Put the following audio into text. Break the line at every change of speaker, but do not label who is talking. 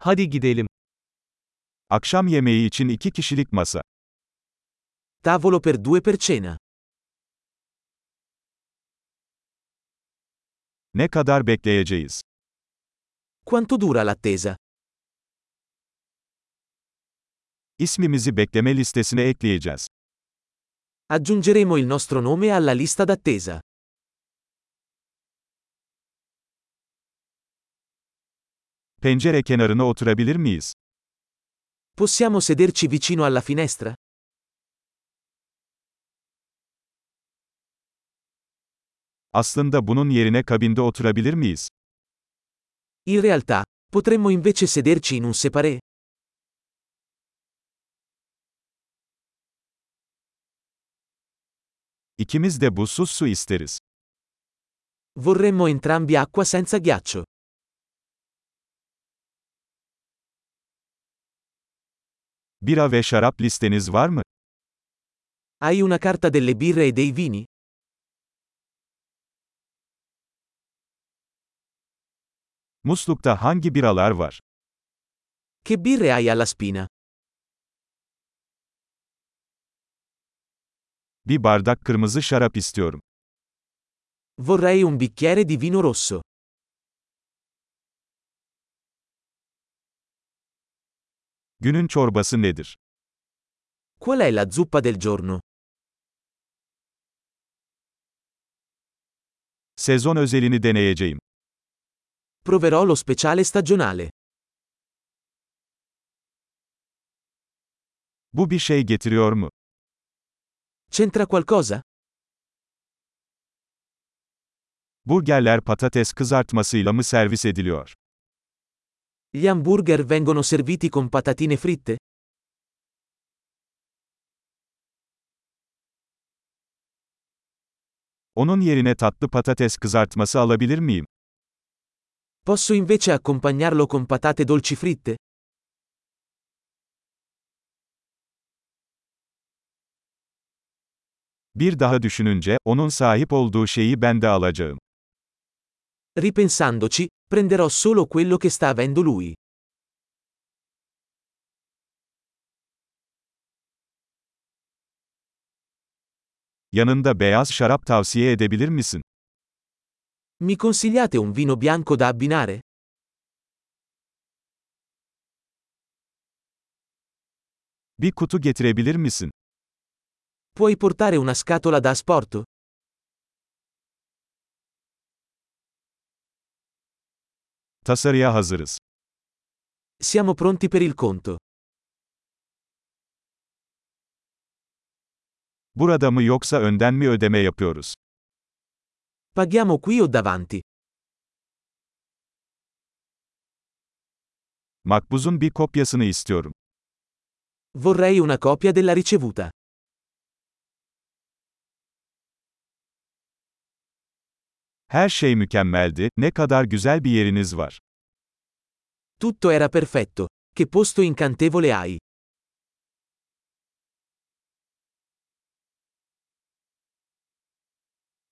Hadi gidelim.
Akşam yemeği için iki kişilik masa.
Tavolo per due per cena.
Ne kadar bekleyeceğiz?
Quanto dura l'attesa?
İsmimizi bekleme listesine ekleyeceğiz.
Aggiungeremo il nostro nome alla lista d'attesa.
Pencere kenarına oturabilir miyiz?
Possiamo sederci vicino alla finestra?
Aslında bunun yerine kabinde oturabilir miyiz?
In realtà, potremmo invece sederci in un separé.
İkimiz de buzsuz su isteriz.
Vorremmo entrambi acqua senza ghiaccio.
Bira ve şarap listeniz var mı?
Hai una carta delle birre e dei vini?
Muslukta hangi biralar var?
Che birre hai alla spina?
Bir bardak kırmızı şarap istiyorum.
Vorrei un bicchiere di vino rosso.
Günün çorbası nedir?
Qual è la zuppa del giorno?
Sezon özelini deneyeceğim.
Proverò lo speciale stagionale.
Bu bir şey getiriyor mu?
C'entra qualcosa?
Burgerler patates kızartmasıyla mı servis ediliyor?
Gli hamburger vengono serviti con patatine fritte?
Onun yerine tatlı patates kızartması alabilir miyim?
Posso invece accompagnarlo con patate dolci fritte?
Bir daha düşününce, onun sahip olduğu şeyi ben de alacağım.
Ripensandoci, prenderò solo quello che sta avendo lui.
Yanında beyaz şarap tavsiye edebilir misin?
Mi consigliate un vino bianco da abbinare?
Bir kutu getirebilir misin?
Puoi portare una scatola da asporto?
Tasarıya hazırız.
Siamo pronti per il conto.
Burada mı yoksa önden mi ödeme yapıyoruz?
Paghiamo qui o davanti?
Makbuzun bir kopyasını istiyorum.
Vorrei una copia della ricevuta.
Her şey mükemmeldi, ne kadar güzel bir yeriniz var.
Tutto era perfetto. Che posto incantevole hai.